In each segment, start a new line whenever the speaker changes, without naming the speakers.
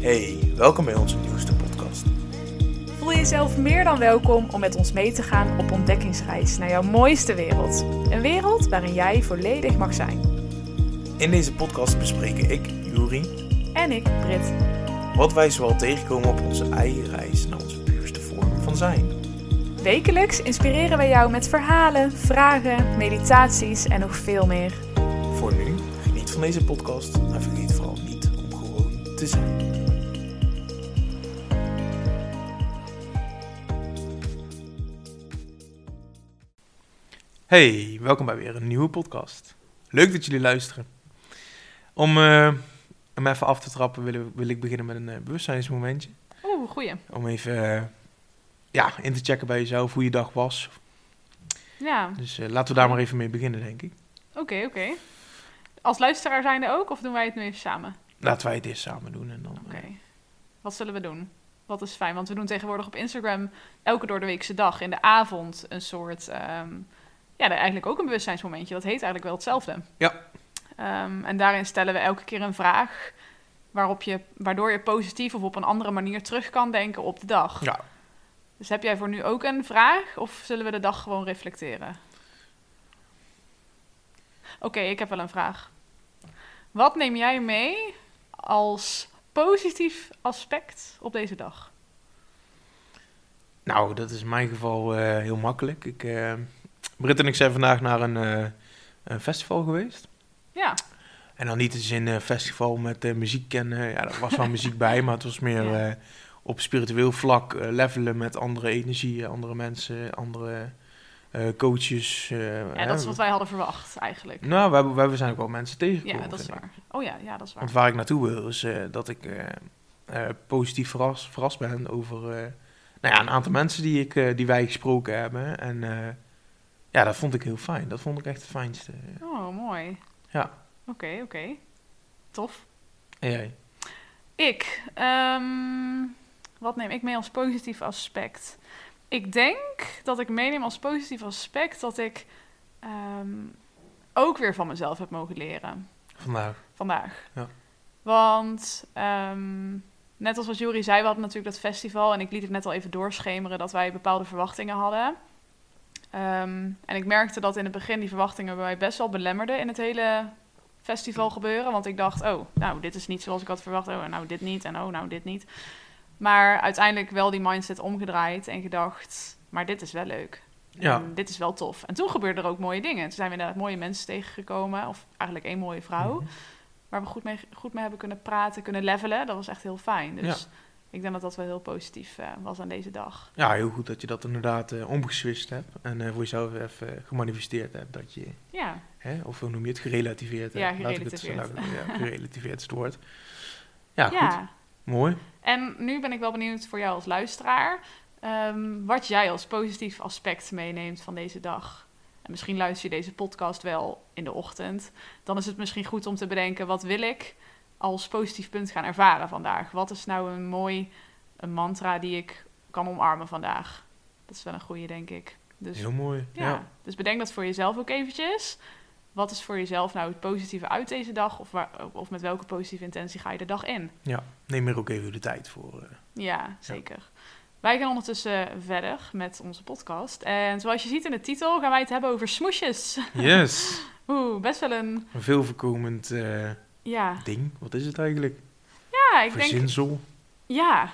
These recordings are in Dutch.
Hey, welkom bij onze nieuwste podcast.
Voel jezelf meer dan welkom om met ons mee te gaan op ontdekkingsreis naar jouw mooiste wereld. Een wereld waarin jij volledig mag zijn.
In deze podcast bespreken ik, Juri,
En ik, Brit.
wat wij zoal tegenkomen op onze eigen reis naar onze puurste vorm van zijn.
Wekelijks inspireren wij jou met verhalen, vragen, meditaties en nog veel meer.
Voor nu, geniet van deze podcast en vergeet vooral niet om gewoon te zijn. Hey, welkom bij weer een nieuwe podcast. Leuk dat jullie luisteren. Om eh, hem even af te trappen willen- wil ik beginnen met een eh, bewustzijnsmomentje.
Oeh, goeie.
Om even eh, ja, in te checken bij jezelf hoe je dag was.
Ja,
Dus eh, laten we daar maar even mee beginnen, denk ik.
oké, oké. Als luisteraar zijn er ook, of doen wij het nu even samen?
Laten wij het eerst samen doen. En dan, eh,
Oké. Wat zullen we doen? Wat is fijn, want we doen tegenwoordig op Instagram elke door de weekse dag in de avond een soort, ehm, ja, eigenlijk ook een bewustzijnsmomentje. Dat heet eigenlijk wel hetzelfde.
Ja.
Ehm, en daarin stellen we elke keer een vraag waarop je, waardoor je positief of op een andere manier terug kan denken op de dag.
Ja,
Dus heb jij voor nu ook een vraag of zullen we de dag gewoon reflecteren? Oké, ik heb wel een vraag. Wat neem jij mee als positief aspect op deze dag?
nou, dat is in mijn geval eh, heel makkelijk. Ik, eh, Britt en ik zijn vandaag naar een, eh, een festival geweest.
Ja,
En dan niet eens in een festival met eh, muziek en... eh, ja, er was wel muziek bij, maar het was meer
Ja.
eh, op spiritueel vlak eh, levelen met andere energieën, andere mensen, andere eh, coaches. eh,
ja
hè.
dat is wat wij hadden verwacht eigenlijk.
Nou, wij, hebben- wij zijn ook wel mensen tegengekomen.
Ja, dat is
vind ik.
waar. Oh ja, ja dat is waar.
Want waar ik naartoe wil is eh, dat ik eh, eh, positief verras, verrast ben over eh, nou ja, een aantal mensen die, ik, eh, die wij gesproken hebben. En eh, ja, dat vond ik heel fijn. Dat vond ik echt het fijnste. eh,
Oh, mooi.
Ja.
Oké, oké. Tof.
En jij?
Ik. ehm, wat neem ik mee als positief aspect? Ik denk dat ik meeneem als positief aspect dat ik ehm, ook weer van mezelf heb mogen leren
Vandaag.
vandaag.
Ja.
Want ehm, net als wat Jury zei, we hadden natuurlijk dat festival en ik liet het net al even doorschemeren dat wij bepaalde verwachtingen hadden. Ehm, en ik merkte dat in het begin die verwachtingen bij mij best wel belemmerden in het hele festival gebeuren. Want ik dacht, oh, nou, dit is niet zoals ik had verwacht. Oh, nou, dit niet. En oh, nou, dit niet. Maar uiteindelijk wel die mindset omgedraaid en gedacht, maar dit is wel leuk.
Ja.
En dit is wel tof. En toen gebeurden er ook mooie dingen. Toen zijn we inderdaad mooie mensen tegengekomen. Of eigenlijk één mooie vrouw
Mhm.
waar we goed mee, goed mee hebben kunnen praten, kunnen levelen. Dat was echt heel fijn. Dus ik denk dat dat wel heel positief eh, was aan deze dag.
Ja, heel goed dat je dat inderdaad eh omgeswist hebt. En eh, voor jezelf even gemanifesteerd hebt dat je...
Ja,
Hè, of hoe noem je het? Gerelativeerd
Ja,
hebt. Laat ik het zo-
gerelativeerd.
laat ik het- ja, gerelativeerd is het woord. Ja,
ja.
goed. Mooi.
En nu ben ik wel benieuwd voor jou als luisteraar. ehm, wat jij als positief aspect meeneemt van deze dag. En misschien luister je deze podcast wel in de ochtend. Dan is het misschien goed om te bedenken: wat wil ik als positief punt gaan ervaren vandaag? Wat is nou een mooi een mantra die ik kan omarmen vandaag? Dat is wel een goede, denk ik. Dus
Heel mooi.
Ja. Dus bedenk dat voor jezelf ook eventjes. Wat is voor jezelf nou het positieve uit deze dag? Of, waar, of met welke positieve intentie ga je de dag in?
Neem er ook even de tijd voor. eh.
Ja, zeker. Wij gaan ondertussen verder met onze podcast. En zoals je ziet in de titel gaan wij het hebben over smoesjes.
Yes.
Oeh, best wel een...
Een veelvoorkomend eh,
Ja,
ding. Wat is het eigenlijk?
ja ik denk...
Verzinsel,
Ja,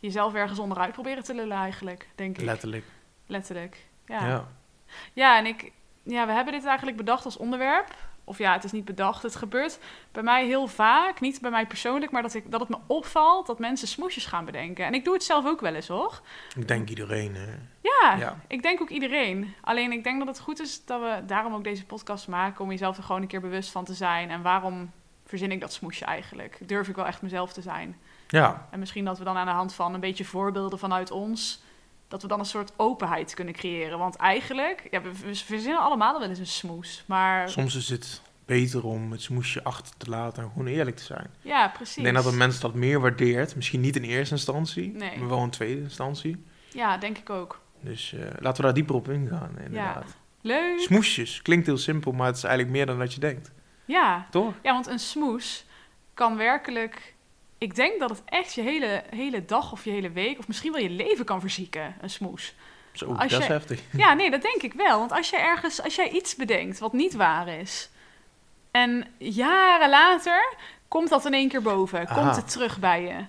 jezelf ergens onderuit proberen te lullen eigenlijk, denk ik.
letterlijk.
Letterlijk.
Ja.
ja. Ja, en ik, ja, we hebben dit eigenlijk bedacht als onderwerp. Of ja, het is niet bedacht. Het gebeurt bij mij heel vaak. Niet bij mij persoonlijk, maar dat, ik, dat het me opvalt dat mensen smoesjes gaan bedenken. En ik doe het zelf ook wel eens hoor.
Ik denk iedereen. eh,
Ja,
Ja.
ik denk ook iedereen. Alleen ik denk dat het goed is dat we daarom ook deze podcast maken. Om jezelf er gewoon een keer bewust van te zijn. En waarom verzin ik dat smoesje eigenlijk? Durf ik wel echt mezelf te zijn?
Ja,
En misschien dat we dan aan de hand van een beetje voorbeelden vanuit ons, dat we dan een soort openheid kunnen creëren. Want eigenlijk, ja, we we verzinnen allemaal wel eens een smoes. Maar
soms is het beter om het smoesje achter te laten en gewoon eerlijk te zijn.
ja, precies.
Ik denk dat een mens dat meer waardeert. Misschien niet in eerste instantie,
Nee.
maar wel in tweede instantie.
Ja, denk ik ook.
Dus eh, laten we daar dieper op ingaan, inderdaad.
Leuk.
Smoesjes klinkt heel simpel, maar het is eigenlijk meer dan dat je denkt.
Ja.
Toch?
ja, want een smoes kan werkelijk Ik denk dat het echt je hele, hele dag of je hele week, of misschien wel je leven kan verzieken, een smoes.
Zo,
Als
dat is
je-
heftig.
Ja, nee, dat denk ik wel. Want als jij ergens, als jij iets bedenkt wat niet waar is, en jaren later komt dat in één keer boven,
Aha.
komt het terug bij je.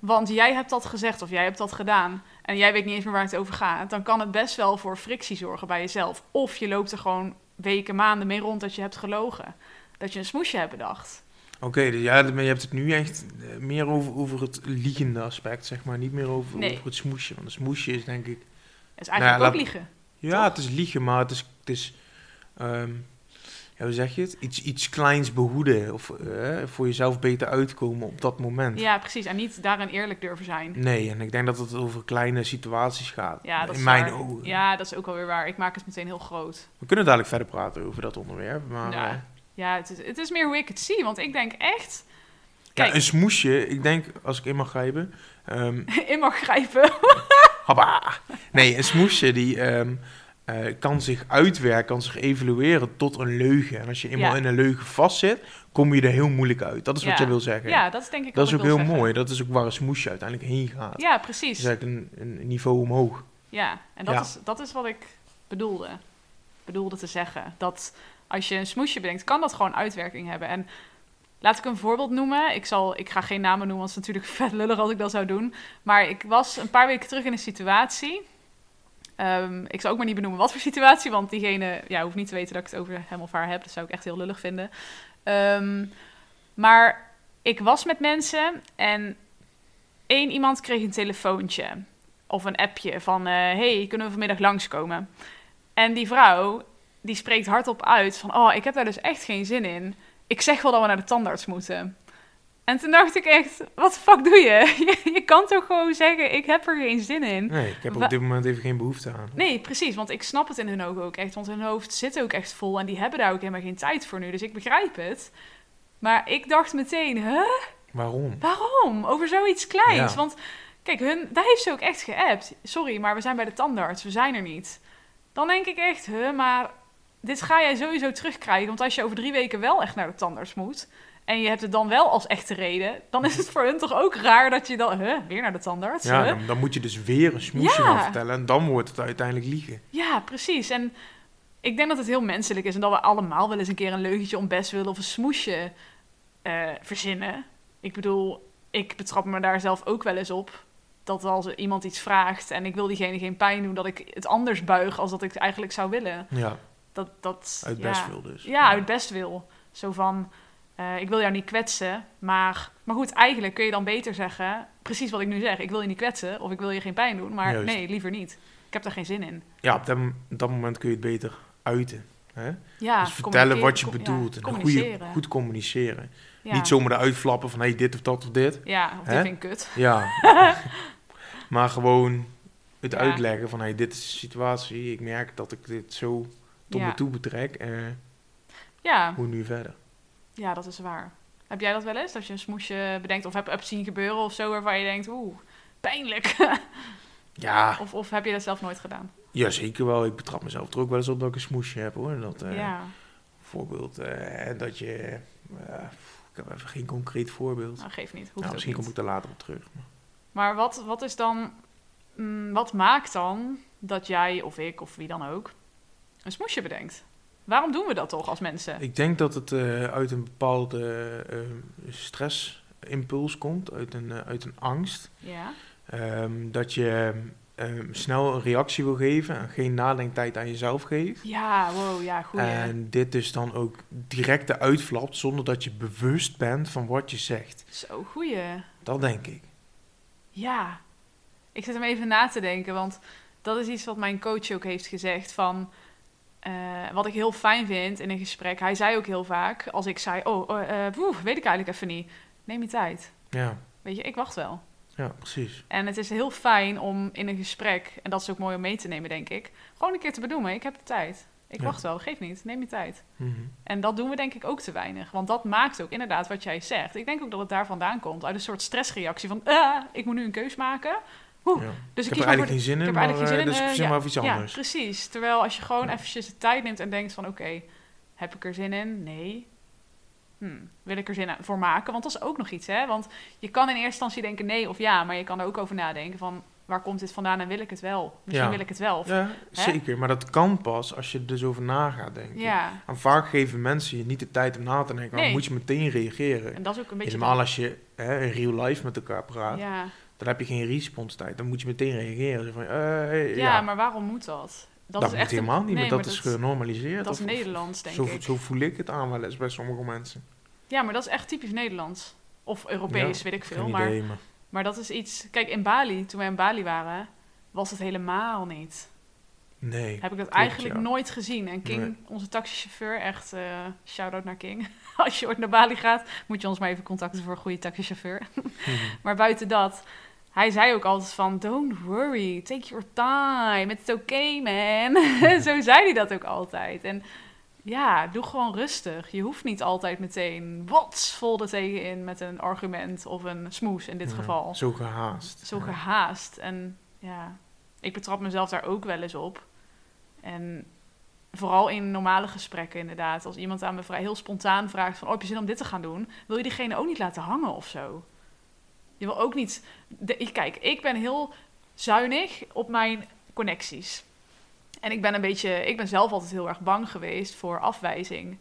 Want jij hebt dat gezegd of jij hebt dat gedaan. En jij weet niet eens meer waar het over gaat. Dan kan het best wel voor frictie zorgen bij jezelf. Of je loopt er gewoon weken, maanden mee rond dat je hebt gelogen. Dat je een smoesje hebt bedacht.
Oké, dus ja, maar je hebt het nu echt eh, meer over, over het liegende aspect, zeg maar. Niet meer over,
Nee.
over het smoesje. Want het smoesje is denk ik...
Dat is eigenlijk
Nou ja,
ook
laat-
liegen.
Ja,
Toch?
het is liegen, maar het is... Het is ehm, ja, hoe zeg je het? Iets, iets kleins behoeden. Of eh, voor jezelf beter uitkomen op dat moment.
Ja, precies. En niet daarin eerlijk durven zijn.
Nee, en ik denk dat het over kleine situaties gaat.
Ja, dat
in
is
mijn
waar.
ogen.
Ja, dat is ook wel weer waar. Ik maak het meteen heel groot.
We kunnen dadelijk verder praten over dat onderwerp. Maar
Ja.
eh,
Ja, het is, het is meer hoe ik het zie. Want ik denk echt,
ja,
Kijk.
een smoesje, ik denk, als ik in mag grijpen... ehm,
in mag grijpen.
Habba. Nee, een smoesje die ehm, eh, kan zich uitwerken, kan zich evalueren tot een leugen. En als je eenmaal
Ja.
in een leugen vastzit, kom je er heel moeilijk uit. Dat is
Ja.
wat jij wil zeggen.
Ja, dat is denk ik
dat
wat
is
ik
ook
wil
heel
zeggen.
mooi. Dat is ook waar een smoesje uiteindelijk heen gaat.
Ja,
Het
precies.
is eigenlijk een, een niveau omhoog.
Ja, en dat,
Ja.
Is, dat is wat ik bedoelde. Bedoelde te zeggen. Dat als je een smoesje bedenkt, kan dat gewoon uitwerking hebben. En laat ik een voorbeeld noemen. Ik, zal, ik ga geen namen noemen, want het is natuurlijk vet lullig als ik dat zou doen. Maar ik was een paar weken terug in een situatie. Ehm, ik zal ook maar niet benoemen wat voor situatie, want diegene ja, hoeft niet te weten dat ik het over hem of haar heb. Dat zou ik echt heel lullig vinden. Ehm, maar ik was met mensen en één iemand kreeg een telefoontje of een appje van... eh, hey, kunnen we vanmiddag langskomen? En die vrouw, die spreekt hardop uit van... oh, ik heb daar dus echt geen zin in. Ik zeg wel dat we naar de tandarts moeten. En toen dacht ik echt, wat de fuck doe je? je? Je kan toch gewoon zeggen, ik heb er geen zin in?
Nee, ik heb er
Hm. Wa-
op dit moment even geen behoefte aan.
Nee, precies. Want ik snap het in hun ogen ook echt. Want hun hoofd zit ook echt vol. En die hebben daar ook helemaal geen tijd voor nu. Dus ik begrijp het. Maar ik dacht meteen, huh?
Waarom?
Waarom? Over zoiets kleins.
Mm. Ja.
Want kijk, hun, daar heeft ze ook echt geappt. Sorry, maar we zijn bij de tandarts. We zijn er niet. Dan denk ik echt, huh, maar dit ga jij sowieso terugkrijgen. Want als je over drie weken wel echt naar de tandarts moet... en je hebt het dan wel als echte reden... dan is het voor hun toch ook raar dat je dan... Huh, weer naar de tandarts?
Ja,
Huh?
dan, dan moet je dus weer een smoesje
Ja.
gaan vertellen en dan wordt het uiteindelijk liegen.
Ja, precies. En ik denk dat het heel menselijk is en dat we allemaal wel eens een keer een leugentje om best willen of een smoesje eh, verzinnen. Ik bedoel, ik betrap me daar zelf ook wel eens op. Dat als iemand iets vraagt en ik wil diegene geen pijn doen, dat ik het anders buig als dat ik het eigenlijk zou willen.
Ja,
Dat, dat,
uit
ja.
best veel dus.
Ja, uit best wil. Zo van, eh, ik wil jou niet kwetsen, maar... Maar goed, eigenlijk kun je dan beter zeggen, precies wat ik nu zeg. Ik wil je niet kwetsen of ik wil je geen pijn doen, maar
Juist.
nee, liever niet. Ik heb daar geen zin in.
Ja, op dat, dat moment kun je het beter uiten. Hè?
Ja,
dus vertellen wat je
communiceren,
bedoelt.
Ja,
en een goede,
communiceren.
goed communiceren.
Ja.
Niet zomaar eruit flappen van hey, dit of dat of dit.
Ja, of dit
Hè?
vind ik kut.
Ja. maar gewoon het
Ja.
uitleggen van hey, dit is de situatie. Ik merk dat ik dit zo tot
Ja.
me toe betrek. eh,
Ja.
hoe nu verder?
ja, dat is waar. Heb jij dat wel eens? Dat je een smoesje bedenkt of hebt hebt zien gebeuren of zo, waarvan je denkt, oeh, pijnlijk.
Ja,
of, of heb je dat zelf nooit gedaan?
ja, zeker wel. Ik betrap mezelf er ook wel eens op dat ik een smoesje heb hoor. Dat, eh,
ja,
Bijvoorbeeld eh, dat je... eh, ik heb even geen concreet voorbeeld.
nou, geeft niet. Hoeft
Nou,
ook
misschien
niet.
kom ik daar later op terug. maar-
Maar wat, wat is dan, mm, wat maakt dan dat jij of ik of wie dan ook een smoesje bedenkt? Waarom doen we dat toch als mensen?
Ik denk dat het eh, uit een bepaalde eh, stressimpuls komt, uit een, eh, uit een angst.
Ja,
Ehm, dat je ehm, snel een reactie wil geven en geen nadenktijd aan jezelf geeft.
ja wow, ja, goed.
En dit dus dan ook direct eruit flapt zonder dat je bewust bent van wat je zegt.
Zo, goeie.
Dat denk ik.
Ja, ik zit hem even na te denken, want dat is iets wat mijn coach ook heeft gezegd van eh, wat ik heel fijn vind in een gesprek. Hij zei ook heel vaak als ik zei, oh, eh, eh, woe, weet ik eigenlijk even niet. Neem je tijd.
Ja,
Weet je, ik wacht wel.
ja precies.
En het is heel fijn om in een gesprek, en dat is ook mooi om mee te nemen, denk ik, gewoon een keer te benoemen. Ik heb de tijd. Ik
Ja.
wacht wel, geef niet. Neem je tijd.
Mhm.
En dat doen we denk ik ook te weinig. Want dat maakt ook inderdaad wat jij zegt. Ik denk ook dat het daar vandaan komt. Uit een soort stressreactie van... ah, ik moet nu een keus maken. Oeh,
Ja.
Dus ik,
Ik heb er
kies maar voor
eigenlijk
de-
geen zin
ik
in,
heb
maar
eigenlijk geen
eh,
zin in,
dus
eh,
verzin
ja.
maar over iets
Ja,
anders.
precies. Terwijl als je gewoon
Ja.
eventjes de tijd neemt en denkt van... oké, heb ik er zin in? Nee. Hm, hmm, wil ik er zin aan- voor maken? Want dat is ook nog iets, hè? Want je kan in eerste instantie denken nee of ja, maar je kan er ook over nadenken van waar komt dit vandaan en wil ik het wel? Misschien
Ja.
wil ik het wel. Of-
Ja, zeker. Maar dat kan pas als je er dus over na gaat denken.
ja.
En vaak geven mensen je niet de tijd om na te denken, maar
Nee.
dan moet je meteen reageren.
En dat is ook een beetje...
Helemaal als je hè, in real life met elkaar
ja.
praat,
Ja.
dan heb je geen response tijd. Dan moet je meteen reageren. Zo van, eh, ja,
maar waarom moet dat?
dat, moet helemaal niet,
nee,
maar dat
maar
is genormaliseerd.
Dat is
Of- of-
Nederlands, denk
zo,
ik.
zo voel ik het aan wel eens bij sommige mensen.
Ja, maar dat is echt typisch Nederlands. Of Europees, weet ik veel.
Geen
Maar,
idee, maar...
maar dat is iets... Kijk, in Bali, toen wij in Bali waren, was het helemaal niet.
Nee.
Heb ik
Klopt,
dat eigenlijk
ja.
nooit gezien. En King,
Nee.
onze taxichauffeur, echt eh shout-out naar King. Als je ooit naar Bali gaat, moet je ons maar even contacten voor een goede taxichauffeur. maar buiten dat, hij zei ook altijd van... Don't worry, take your time, it's okay man. Zo zei hij dat ook altijd. En ja, doe gewoon rustig. Je hoeft niet altijd meteen wat vol er tegen in met een argument of een smoes in dit
Ja,
geval
Zo gehaast.
zo
Ja.
gehaast. En ja, ik betrap mezelf daar ook wel eens op. En vooral in normale gesprekken inderdaad. Als iemand aan me vrij heel spontaan vraagt van... oh, heb je zin om dit te gaan doen? Wil je diegene ook niet laten hangen of zo? Je wil ook niet... De, ik- kijk, ik ben heel zuinig op mijn connecties. En ik ben een beetje... Ik ben zelf altijd heel erg bang geweest voor afwijzing.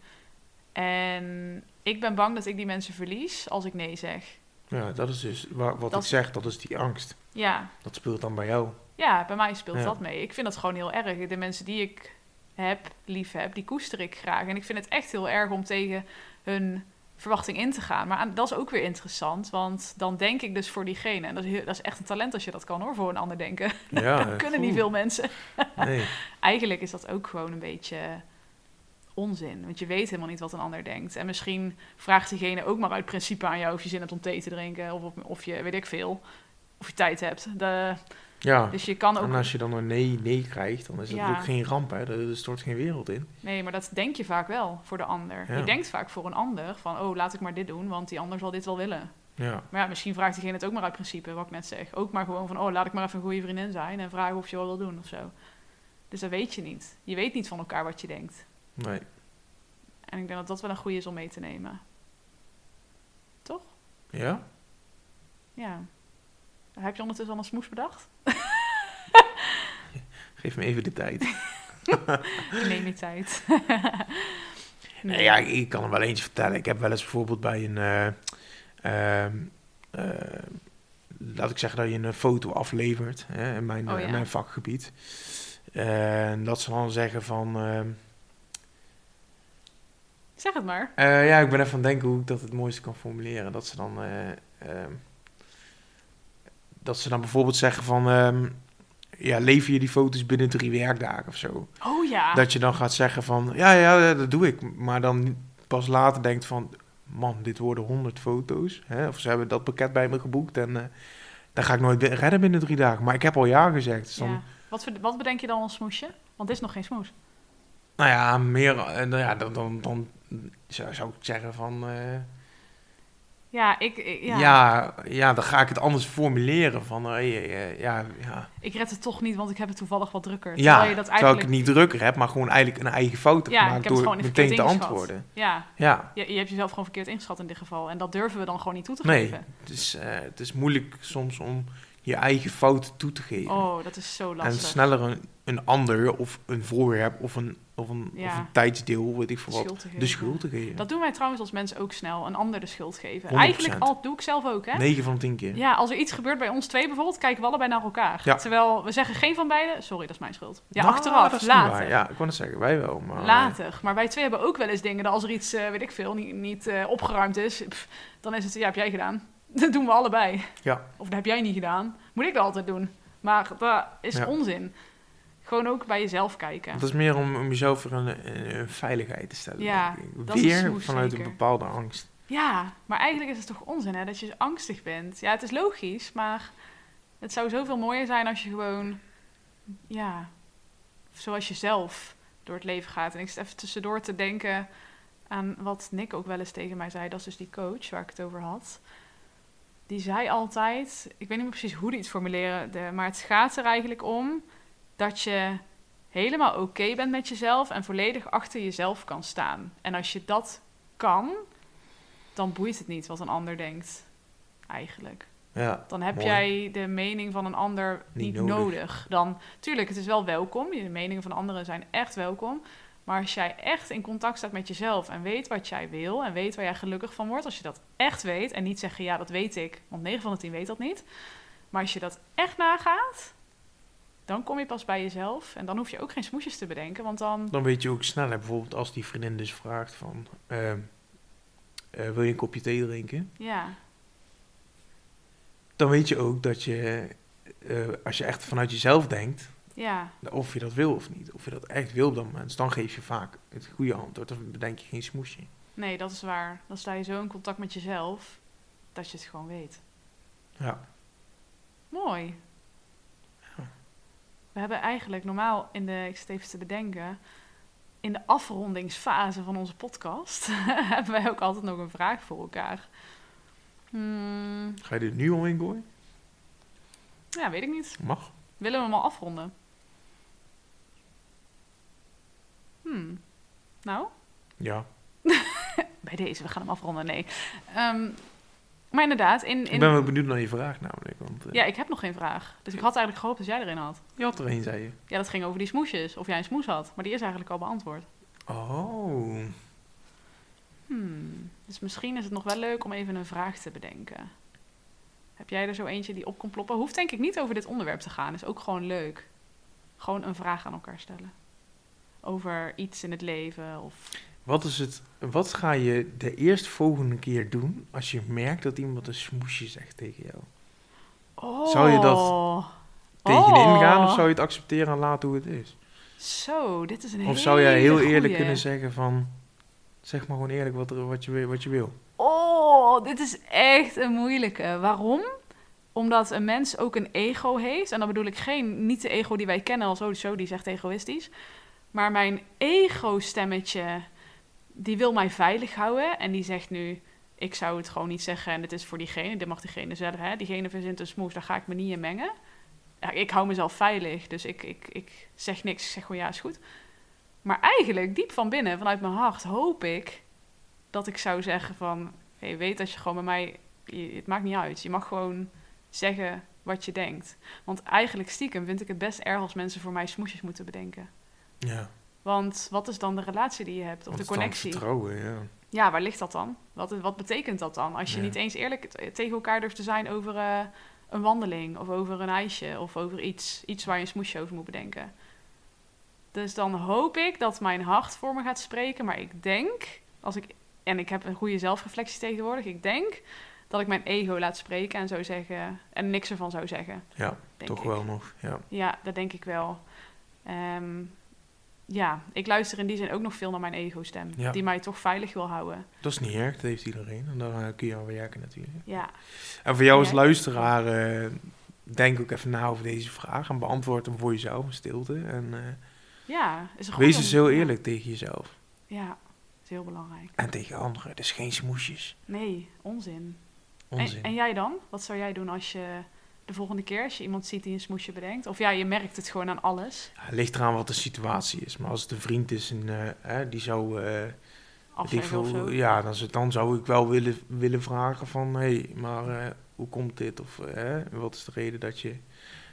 En ik ben bang dat ik die mensen verlies als ik nee zeg.
Ja, dat is dus wa- wat
Dat
ik
is-
zeg, dat is die angst.
Ja,
Dat speelt dan bij jou.
Ja, bij mij speelt
Ja.
dat mee. Ik vind dat gewoon heel erg. De mensen die ik heb, lief heb, die koester ik graag. En ik vind het echt heel erg om tegen hun verwachting in te gaan. Maar aan- dat is ook weer interessant, want dan denk ik dus voor diegene. En dat is, heel- dat is echt een talent als je dat kan hoor, voor een ander denken.
Ja,
dat
eh,
kunnen niet
oeh,
veel mensen.
Nee.
Eigenlijk is dat ook gewoon een beetje onzin. Want je weet helemaal niet wat een ander denkt. En misschien vraagt diegene ook maar uit principe aan jou... of je zin hebt om thee te drinken, of, of, of je, weet ik veel... of je tijd hebt. De-
Ja,
dus je kan ook
en als je dan een nee, nee krijgt, dan is dat
Ja.
ook geen ramp, hè. Er er stort geen wereld in.
Nee, maar dat denk je vaak wel voor de ander.
Ja.
Je denkt vaak voor een ander van, oh, laat ik maar dit doen, want die ander zal dit wel willen.
Ja,
Maar ja, misschien vraagt diegene het ook maar uit principe, wat ik net zeg. Ook maar gewoon van, oh, laat ik maar even een goede vriendin zijn en vragen of je wel wil doen of zo. Dus dat weet je niet. Je weet niet van elkaar wat je denkt.
nee.
En ik denk dat dat wel een goede is om mee te nemen. Toch?
Ja?
Ja. Heb je ondertussen al een smoes bedacht?
Geef me even de tijd.
Neem je tijd.
Nee, ja, ik, ik kan hem wel eens vertellen. Ik heb wel eens bijvoorbeeld bij een... eh, ehm, eh, laat ik zeggen dat je een eh, foto aflevert hè, in, mijn,
Oh,
eh, in
ja.
mijn vakgebied. En dat ze dan zeggen van... ehm,
Zeg het maar.
Eh, ja, ik ben even aan het denken hoe ik dat het mooiste kan formuleren. Dat ze dan, eh, ehm, dat ze dan bijvoorbeeld zeggen van, ehm, ja, lever je die foto's binnen drie werkdagen of zo.
Oh ja.
Dat je dan gaat zeggen van, ja, ja, dat doe ik. Maar dan niet- pas later denkt van, man, dit worden honderd foto's. Hè? Of ze hebben dat pakket bij me geboekt en eh dat ga ik nooit redden binnen drie dagen. Maar ik heb al ja gezegd. Dus dan,
Ja. Wat, voor- wat bedenk je dan als smoesje? Want dit is nog geen smoes.
nou ja, meer, eh, nou ja, dan, dan, dan zou, zou ik zeggen van... eh,
Ja, ik, ik-
Ja.
ja.
Ja, dan ga ik het anders formuleren. Van, eh, eh, eh, ja, ja.
ik red het toch niet, want ik heb het toevallig wat drukker.
ja
Terwijl je
terwijl,
dat eigenlijk...
ik het niet drukker heb, maar gewoon eigenlijk een eigen fout heb
Ja, ik
gemaakt
heb het
door
gewoon
meteen
verkeerd
te
ingeschat.
antwoorden.
Ja,
Ja,
je, je hebt jezelf gewoon verkeerd ingeschat in dit geval. En dat durven we dan gewoon niet toe te
nee,
geven.
het is, eh, het is moeilijk soms om je eigen fout toe te geven.
Oh, dat is zo
en
lastig.
sneller een, een ander of een voorwerp of een, of een, of
Ja.
een tijdsdeel, weet ik veel wat,
Schuld te
de
geven.
schuld te geven.
Dat doen wij trouwens als mensen ook snel. Een ander de schuld geven.
100%.
Eigenlijk al, doe ik zelf ook, hè?
9 van 10 keer.
Ja, als er iets gebeurt bij ons twee bijvoorbeeld, kijken we allebei naar elkaar.
Ja.
Terwijl we zeggen geen van beiden, sorry, dat is mijn schuld. Ja,
Nou, dat
achteraf,
is niet waar.
later.
Ja, ik kon het zeggen, wij wel. Maar, eh,
Later. Maar wij twee hebben ook wel eens dingen dat als er iets, eh, weet ik veel, niet, niet eh, opgeruimd is, pff, dan is het, ja, heb jij gedaan. Dat doen we allebei.
Ja.
Of dat heb jij niet gedaan. Moet ik dat altijd doen. Maar dat is
Ja.
onzin. Gewoon ook bij jezelf kijken.
Dat is meer om, om jezelf weer een, een, een veiligheid te stellen.
Ja,
denk ik.
dat is
weer
een smoes,
vanuit
zeker.
een bepaalde angst.
Ja, maar eigenlijk is het toch onzin hè, dat je angstig bent. Ja, het is logisch, maar het zou zoveel mooier zijn als je gewoon, ja, zoals jezelf door het leven gaat. En ik zit even tussendoor te denken aan wat Nick ook wel eens tegen mij zei. Dat is dus die coach waar ik het over had. Die zei altijd, ik weet niet meer precies hoe die het formuleerde, maar het gaat er eigenlijk om dat je helemaal oké bent met jezelf en volledig achter jezelf kan staan. En als je dat kan, dan boeit het niet wat een ander denkt. Eigenlijk.
Ja,
Dan heb
Mooi.
jij de mening van een ander
Niet
niet,
nodig.
nodig. Dan, tuurlijk, het is wel welkom. De meningen van anderen zijn echt welkom. Maar als jij echt in contact staat met jezelf en weet wat jij wil en weet waar jij gelukkig van wordt, als je dat echt weet en niet zeggen ja, dat weet ik, want 9 van de 10 weet dat niet. Maar als je dat echt nagaat, dan kom je pas bij jezelf en dan hoef je ook geen smoesjes te bedenken, want dan
dan weet je ook sneller bijvoorbeeld als die vriendin dus vraagt van... ehm, eh, wil je een kopje thee drinken?
ja,
Dan weet je ook dat je, eh, als je echt vanuit jezelf denkt,
ja,
of je dat wil of niet, of je dat echt wil op dat moment, dan geef je vaak het goede antwoord of bedenk je geen smoesje.
nee, dat is waar. Dan sta je zo in contact met jezelf dat je het gewoon weet.
Ja.
Mooi. We hebben eigenlijk normaal in de, ik zit even te bedenken, in de afrondingsfase van onze podcast hebben wij ook altijd nog een vraag voor elkaar. Hmm,
Ga je dit nu al ingooien?
ja, weet ik niet.
Mag.
Willen we hem al afronden? Hmm. Nou,
Ja.
bij deze, we gaan hem afronden. Nee. Ehm, maar inderdaad, in. in
Ik ben wel benieuwd naar je vraag namelijk. Want, eh,
Ja, ik heb nog geen vraag. Dus ik had eigenlijk gehoopt dat jij erin had.
Je had er een, zei je.
Ja, dat ging over die smoesjes. Of jij een smoes had. Maar die is eigenlijk al beantwoord.
Oh.
Hmm. Dus misschien is het nog wel leuk om even een vraag te bedenken. Heb jij er zo eentje die op kon ploppen? Hoeft denk ik niet over dit onderwerp te gaan. Is ook gewoon leuk. Gewoon een vraag aan elkaar stellen. Over iets in het leven. Of...
Wat, is het, wat ga je de eerstvolgende keer doen als je merkt dat iemand een smoesje zegt tegen jou?
Oh.
Zou je dat Tegenin gaan of
Oh.
zou je het accepteren en laten hoe het is?
Zo, dit is een
Of zou jij heel
hele
eerlijk
goeie.
kunnen zeggen van... Zeg maar gewoon eerlijk wat, er, wat, je, wil- wat je wil.
Oh, dit is echt een moeilijke. Waarom? Omdat een mens ook een ego heeft. En dan bedoel ik geen, niet de ego die wij kennen als oh, zo, die is echt egoïstisch. Maar mijn ego-stemmetje, die wil mij veilig houden. En die zegt nu, ik zou het gewoon niet zeggen en het is voor diegene. Dit mag diegene zelf, hè. Diegene verzint een smoes, daar ga ik me niet in mengen. Ja, ik hou mezelf veilig, dus ik, ik, ik zeg niks. Ik zeg gewoon ja, is goed. Maar eigenlijk, diep van binnen, vanuit mijn hart, hoop ik dat ik zou zeggen van... Hey, weet dat je gewoon bij mij... je- het maakt niet uit. Je mag gewoon zeggen wat je denkt. Want eigenlijk stiekem vind ik het best erg als mensen voor mij smoesjes moeten bedenken.
Ja.
Want wat is dan de relatie die je hebt? Of de connectie?
Vertrouwen, ja.
Ja, waar ligt dat dan? Wat, wat betekent dat dan? Als je
Ja.
niet eens eerlijk t- tegen elkaar durft te zijn over eh, een wandeling... of over een ijsje of over iets. Iets waar je een smoesje over moet bedenken. Dus dan hoop ik dat mijn hart voor me gaat spreken. Maar ik denk, als ik, en ik heb een goede zelfreflectie tegenwoordig... ik denk dat ik mijn ego laat spreken en zou zeggen... en niks ervan zou zeggen,
Ja,
denk
toch
ik.
wel nog. Ja.
Ja, dat denk ik wel. Ehm, ja, ik luister in die zin ook nog veel naar mijn ego-stem.
Ja.
Die mij toch veilig wil houden.
Dat is niet erg, dat heeft iedereen. En daar eh, kun je aan werken natuurlijk.
Ja,
En voor jou als
Jij?
luisteraar, eh, denk ook even na over deze vraag en beantwoord hem voor jezelf in stilte. En eh,
ja is een
wees
goeie
eens
om-
heel eerlijk tegen jezelf
Ja, is heel belangrijk.
en tegen anderen. Het is geen smoesjes.
Nee, onzin. En-
Onzin.
En, jij dan? Wat zou jij doen als je de volgende keer, als je iemand ziet die een smoesje bedenkt? Of ja, je merkt het gewoon aan alles.
Ja, het ligt eraan wat de situatie is. Maar als het een vriend is en eh, eh, die zou... eh, die
Afleggen
wil-
of zo.
ja, dan, zou- dan zou ik wel willen, willen vragen van... Hé, hey, maar eh, hoe komt dit? Of eh, wat is de reden dat je...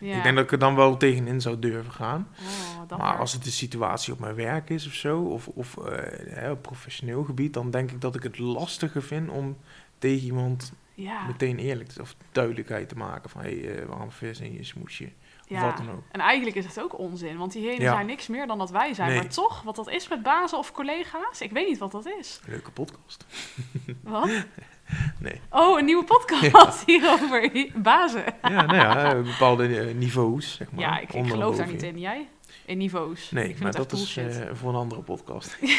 Ja.
Ik denk dat ik er dan wel tegenin zou durven gaan.
Oh, dat
Maar
maar.
als het een situatie op mijn werk is of zo, of, of eh, hè, op professioneel gebied, dan denk ik dat ik het lastiger vind om tegen iemand
Ja,
meteen eerlijk te- of duidelijkheid te maken van hé, hey, eh, waarom vis in je smoesje?
ja.
Of wat dan ook.
En eigenlijk is het ook onzin, want diegenen
Ja.
zijn niks meer dan dat wij zijn.
Nee.
Maar toch, wat dat is met bazen of collega's, ik weet niet wat dat is.
Leuke podcast.
Wat?
Nee.
Oh, een nieuwe podcast hierover. Bazen.
Ja, nou ja, eh, bepaalde eh, niveaus, zeg maar.
Ja, ik, ik
onder en
geloof daar niet
bovenin.
in. Jij? In niveaus.
Nee,
ik vind
maar
het echt
dat is
bullshit.
eh, voor een andere podcast.
ja,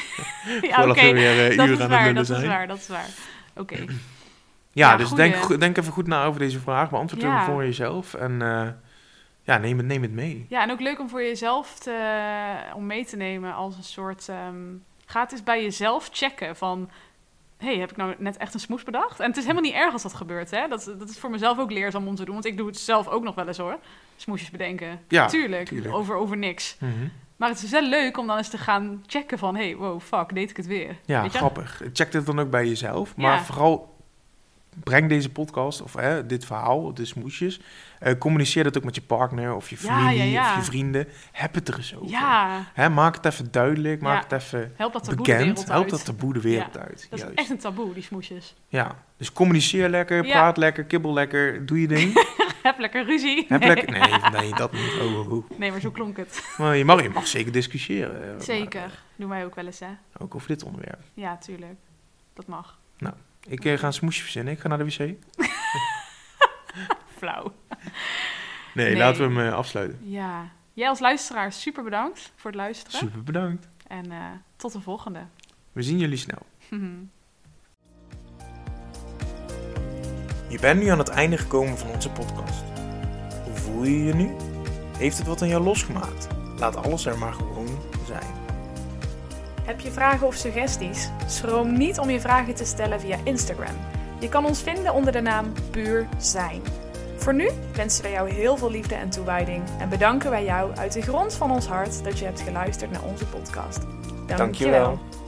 Voordat
oké.
we weer eh,
Dat
uren
is
aan het
waar,
lullen
dat is
zijn.
waar, dat is waar. Oké,
Ja,
Ja,
dus
goeie.
denk, goed- denk even goed na over deze vraag. Beantwoord hem
Ja.
voor jezelf. En eh, ja, neem het, neem het mee.
Ja, en ook leuk om voor jezelf te, eh, om mee te nemen als een soort... ehm, ga het eens bij jezelf checken van... hey, heb ik nou net echt een smoes bedacht? En het is helemaal niet erg als dat gebeurt, hè? Dat, dat is voor mezelf ook leerzaam om te doen. Want ik doe het zelf ook nog wel eens, hoor. Smoesjes bedenken.
Ja,
tuurlijk,
tuurlijk.
Over, over niks.
Mhm.
Maar het is wel leuk om dan eens te gaan checken van... hey, wow, fuck, deed ik het weer.
Ja,
Weet je?
grappig. Check dit dan ook bij jezelf. Maar
Ja.
vooral breng deze podcast of hè, dit verhaal, de smoesjes. eh, communiceer dat ook met je partner of je
Ja,
familie
ja, ja.
of je vrienden. Heb het er eens over.
Ja,
Hè, maak het even duidelijk, maak
Ja.
het even
help dat taboe de
bekend.
wereld
Help
uit.
dat taboe de wereld uit.
Dat is
Juist.
echt een taboe, die smoesjes.
Ja. Dus communiceer lekker,
Ja.
praat lekker, kibbel lekker, doe je ding.
Heb lekker ruzie.
Heb
nee.
lekker... Nee, nee, dat niet. Oh, oh, oh.
nee, maar zo klonk het.
Maar je, mag, je mag zeker discussiëren. eh, maar
Zeker. Doen wij ook wel eens, hè?
ook over dit onderwerp.
Ja, tuurlijk. Dat mag.
Ik eh, ga een smoesje verzinnen. Ik ga naar de wc. Nee,
Flauw. Nee.
laten we hem eh, afsluiten.
Ja. Jij als luisteraar, super bedankt voor het luisteren.
Super bedankt.
En eh, tot de volgende.
We zien jullie snel. Je bent nu aan het einde gekomen van onze podcast. Hoe voel je je nu? Heeft het wat aan jou losgemaakt? Laat alles er maar gewoon zijn.
Heb je vragen of suggesties? Schroom niet om je vragen te stellen via Instagram. Je kan ons vinden onder de naam Puur Zijn. Voor nu wensen wij jou heel veel liefde en toewijding en bedanken wij jou uit de grond van ons hart dat je hebt geluisterd naar onze podcast. Dank
Dankjewel.
je wel.